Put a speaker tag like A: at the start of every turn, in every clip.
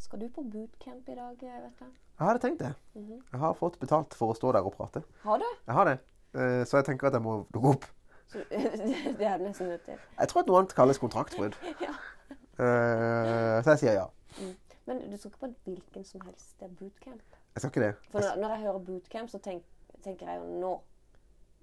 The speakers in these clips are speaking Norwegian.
A: Skal du på bootcamp i dag, eh, vet du?
B: Jeg hadde tenkt det.
A: Mhm.
B: Jeg har fått betalt for å stå der og prate.
A: Har du?
B: Jeg har det. Eh, Så jeg tenker at jeg må dukke opp.
A: Så, det er du nesten nødt til.
B: Jeg tror at noe annet kalles kontraktbrudd.
A: Ja.
B: Eh, Så jeg sier ja.
A: Men du skal ikke på hvilken som helst det er bootcamp.
B: Jeg skal ikke det.
A: For når, når jeg hører bootcamp, så tenk, tenker jeg jo nå.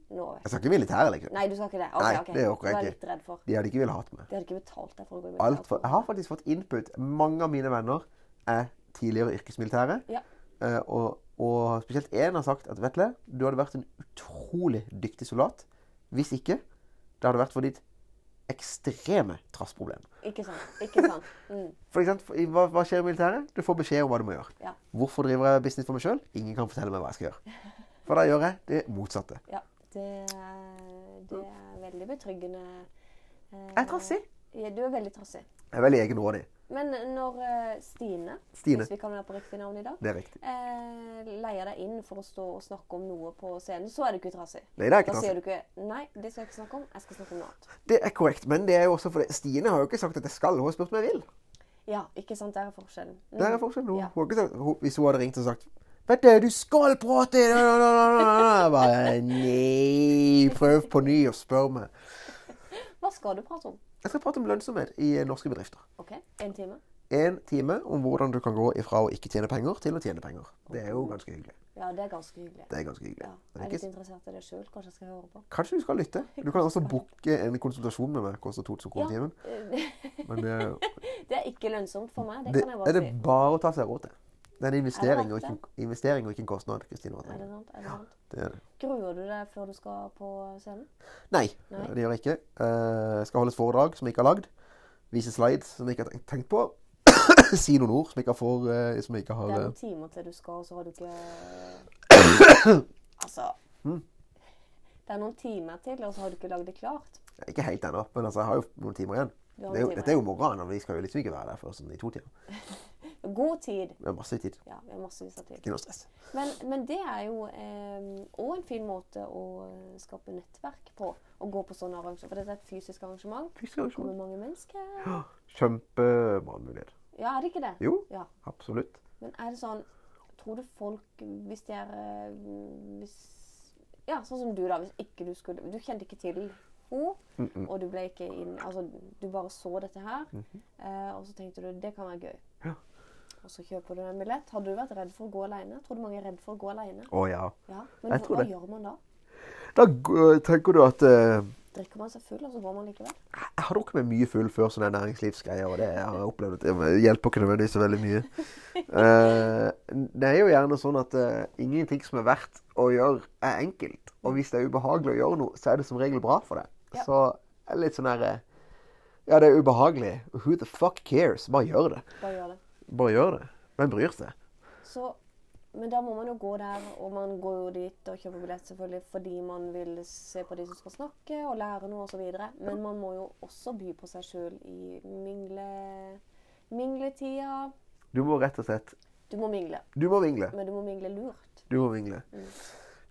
A: Nå vet jeg.
B: Jeg skal ikke i militæret, liksom.
A: Nei, du skal ikke det. Ok,
B: Nei,
A: ok.
B: det gjør
A: var jeg
B: jeg
A: litt redd for.
B: De hadde ikke villet hatt meg.
A: De hadde ikke betalt deg for å gå i
B: Alt
A: militæret.
B: for, jeg har faktisk fått input. Mange av mine venner er tidligere yrkesmilitære.
A: Ja.
B: Eh, Og, og spesielt én har sagt at Vetle, du hadde vært en utrolig dyktig soldat. Hvis ikke, det hadde vært for ditt ekstreme trassproblem.
A: Ikke sant. Ikke sant. Mm.
B: For eksempel, hva, hva skjer i militæret? Du får beskjed om hva du må gjøre.
A: Ja.
B: Hvorfor driver jeg business for meg sjøl? Ingen kan fortelle meg hva jeg skal gjøre. For da gjør jeg det motsatte.
A: ja. Det, er- det er veldig betryggende. eh,
B: Mm. Jeg er trassig.
A: Ja, du er veldig trassig.
B: Jeg er veldig egenrådig.
A: Men når eh, Stine,
B: Stine.
A: hvis vi kan være på riktig navn i dag,
B: Det er riktig.
A: eh, leier deg inn for å stå og snakke om noe på scenen, så er du ikke trassig.
B: Nei, det er
A: Da
B: ikke
A: sier
B: trassig.
A: du ikke 'nei, det skal jeg ikke snakke om, jeg skal snakke om noe annet'.
B: Det er korrekt, men det er jo også fordi Stine har jo ikke sagt at jeg skal, hun har spurt om jeg vil.
A: Ja, ikke sant? Der er forskjellen. Mm.
B: Der er forskjellen. Hun,
A: Ja.
B: hun har ikke sagt, hun, hvis hun hadde ringt og sagt Vet du, du skal prate! Da, da, da, da, da. Jeg bare Nei! Prøv på ny og spør meg.
A: Hva skal du prate om?
B: Jeg skal prate om lønnsomhet i norske bedrifter.
A: OK, en time?
B: En time om hvordan du kan gå ifra å ikke tjene penger til å tjene penger. Det er jo ganske hyggelig.
A: Ja, det er ganske hyggelig.
B: Det er ganske hyggelig.
A: Ja,
B: Men
A: jeg er
B: ikke
A: litt interessert i det sjøl. Kanskje jeg skal høre på.
B: Kanskje du skal lytte. Du kan også booke en konsultasjon med meg. Koster 2000 kroner timen. Men det,
A: Det er ikke lønnsomt for meg. Det,
B: det
A: kan jeg
B: er
A: bare
B: det
A: si.
B: bare å ta seg råd til. Det er en investering, og
A: verdt
B: ikke, en- investering og ikke en kostnad. Kristine
A: Er det
B: Vatne.
A: sant? Er det sant?
B: Det er det.
A: Gruer du deg før du skal på scenen?
B: Nei,
A: Nei.
B: det gjør jeg ikke. Eh, Jeg skal holde et foredrag som jeg ikke har lagd. Vise slides som jeg ikke har tenkt- tenkt på. si noen ord som jeg ikke får eh, Som jeg ikke har
A: Det er
B: eh.
A: noen timer til du skal, og så har du ikke Altså Det er noen timer til, og så har du ikke lagd det klart.
B: eh, Ikke helt ennå, men altså, jeg har jo noen timer igjen.
A: Du har
B: Det er jo,
A: noen timer
B: dette er jo morgenen, og vi skal jo liksom ikke være der før sånn i to timer.
A: God tid.
B: Vi har masse tid.
A: Ja, vi har massevis av tid.
B: Ikke noe stress.
A: Men, men det er jo òg en fin måte å eh, skape nettverk på. Å gå på sånne arrangementer. For dette er et fysisk arrangement. Det kommer mange mennesker.
B: Kjempemannmulighet.
A: Ja, er det ikke det?
B: Jo,
A: Ja.
B: absolutt.
A: Men er det sånn Tror du folk, hvis de er eh, hvis, Ja, sånn som du, da. Hvis ikke du skulle Du kjente ikke til henne,
B: Mm.
A: og du ble ikke inn Altså, du bare så dette her, eh, og så tenkte du det kan være gøy.
B: Mhm. Ja.
A: Og så kjøper du en billett. Hadde du vært redd for å gå alene? Tror du mange er redd for å gå alene?
B: Å ja.
A: Ja. Men
B: Jeg
A: hva,
B: tror
A: hva
B: det.
A: gjør man da?
B: Da g- tenker du at eh,
A: Drikker man seg full, og så går man likevel?
B: Jeg har drukket meg mye full før sånne næringslivsgreier, og det har jeg opplevd. at Det hjelper ikke nødvendigvis så veldig mye. Eh, det er jo gjerne sånn at eh, ingenting som er verdt å gjøre, er enkelt. Og hvis det er ubehagelig å gjøre noe, så er det som regel bra for deg.
A: Ja.
B: Så jeg er litt sånn her eh, Ja, det er ubehagelig. Who the fuck cares? Bare gjør det.
A: Bare gjør det.
B: Bare gjør det. Hvem bryr seg?
A: Så, men da må man jo gå der, og man går jo dit og kjøper billett selvfølgelig fordi man vil se på de som skal snakke og lære noe osv. Men man må jo også by på seg sjøl i mingle, mingletida.
B: Du må rett og slett
A: Du må mingle,
B: Du må vingle.
A: men du må mingle lurt.
B: Du må vingle.
A: Mm.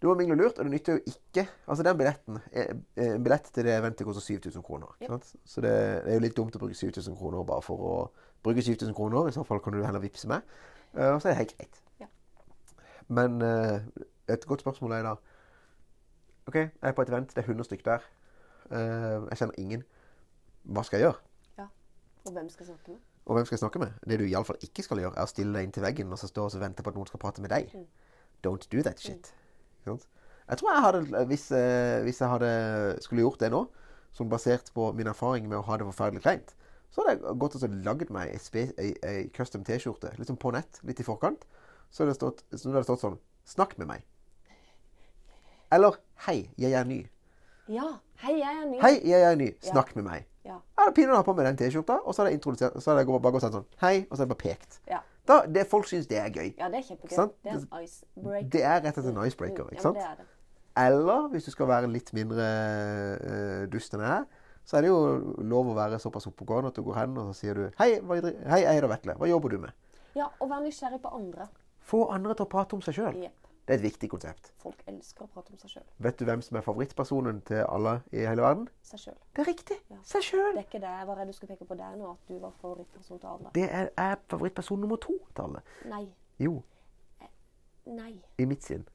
B: Du må vingle lurt, og det nytter jo ikke Altså, den billetten eh, eh, En billett til det eventet koster 7000 kroner.
A: Ja.
B: Ikke sant? Så det, det er jo litt dumt å bruke 7000 kroner bare for å bruke 7000 kroner. I så fall kan du heller vippse meg. Eh, Og så er det helt greit.
A: Ja.
B: Men eh, et godt spørsmål er da OK, jeg er på et event. Det er 100 stykk der. Eh, Jeg kjenner ingen. Hva skal jeg gjøre?
A: Ja. Og hvem skal snakke med?
B: Og hvem skal jeg snakke med? Det du iallfall ikke skal gjøre, er å stille deg inn til veggen og så stå og så vente på at noen skal prate med deg. Don't do that shit. Ikke sant? Jeg tror jeg hadde, hvis, eh, hvis jeg hadde skulle gjort det nå, som basert på min erfaring med å ha det forferdelig kleint, så hadde jeg gått og så lagd meg ei spe- ei- ei custom T-skjorte, liksom på nett, litt i forkant. Så hadde det stått, så hadde det stått sånn Snakk med meg. Eller Hei, jeg er ny.
A: Ja. Hei, jeg er ny.
B: Hei, jeg er ny. Snakk med meg.
A: Ja.
B: Jeg hadde pinadø hatt på meg den T-skjorta, og så hadde jeg introdusert, så hadde jeg bare gått sånn sånn Hei, og så hadde jeg bare pekt.
A: Ja.
B: Da, det, folk syns det er gøy.
A: ja, det er kjempegøy.
B: Sant?
A: Det er en icebreaker.
B: Det er rett og slett en icebreaker. ikke sant?
A: Ja, men det er det.
B: Eller hvis du skal være litt mindre eh, dust enn jeg er, så er det jo lov å være såpass oppegående at du går hen og så sier du Hei, hva, dri- hei jeg heter Vetle. Hva jobber du med?
A: Ja, og vær nysgjerrig på andre.
B: Få andre til å prate om seg sjøl.
A: Jepp.
B: Det er et viktig konsept.
A: Folk elsker å prate om seg sjøl.
B: Vet du hvem som er favorittpersonen til alle i hele verden?
A: Seg selv.
B: Det er riktig.
A: Ja.
B: Seg sjøl.
A: Det er ikke det. Jeg var redd du skulle peke på deg nå, at du var favorittperson til alle.
B: Det er, er favorittperson nummer to til alle.
A: Nei.
B: Jo,
A: Nei.
B: i mitt sinn.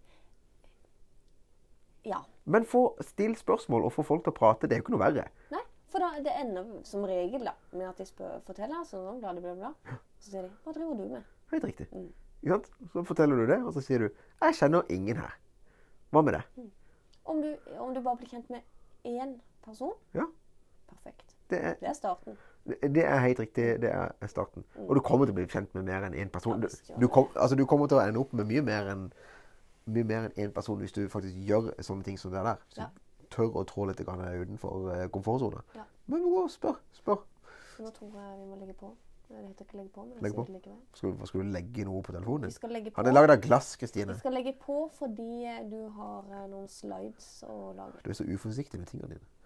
A: Ja.
B: Men få still spørsmål og få folk til å prate, det er jo ikke noe verre.
A: Nei. For da, det ender som regel da, med at de spør, forteller sånn sånn, bla, bla, bla. bla. Så sier de 'Hva driver du med?'
B: Helt riktig.
A: Mm.
B: Ikke sant? Så forteller du det, og så sier du 'Jeg kjenner ingen her'. Hva med det?
A: Om du, om du bare blir kjent med én person,
B: Ja,
A: perfekt.
B: det er,
A: Det er starten.
B: det er helt riktig. Det er starten.
A: Mm.
B: Og du kommer til å bli kjent med mer enn én person.
A: Ja,
B: Du,
A: visst, ja.
B: du, kom, altså, du kommer til å ende opp med mye mer enn mye mer enn én person hvis du faktisk gjør sånne ting som det der. Så
A: Ja.
B: tør å trå litt grann utenfor eh, komfortsona.
A: Ja.
B: Men gå og spør. spør.
A: Så nå tror jeg vi må legge på. Det heter ikke legge på, men
B: Legge
A: legge
B: på.
A: på. Likevel.
B: Skal, du- skal du legge noe på telefonen
A: Vi
B: din?
A: skal legge på.
B: Han er lagd av glass,
A: Vi
B: Kristine.
A: skal legge på fordi du har eh, noen slides å lage.
B: Du er så uforsiktig med tingene dine.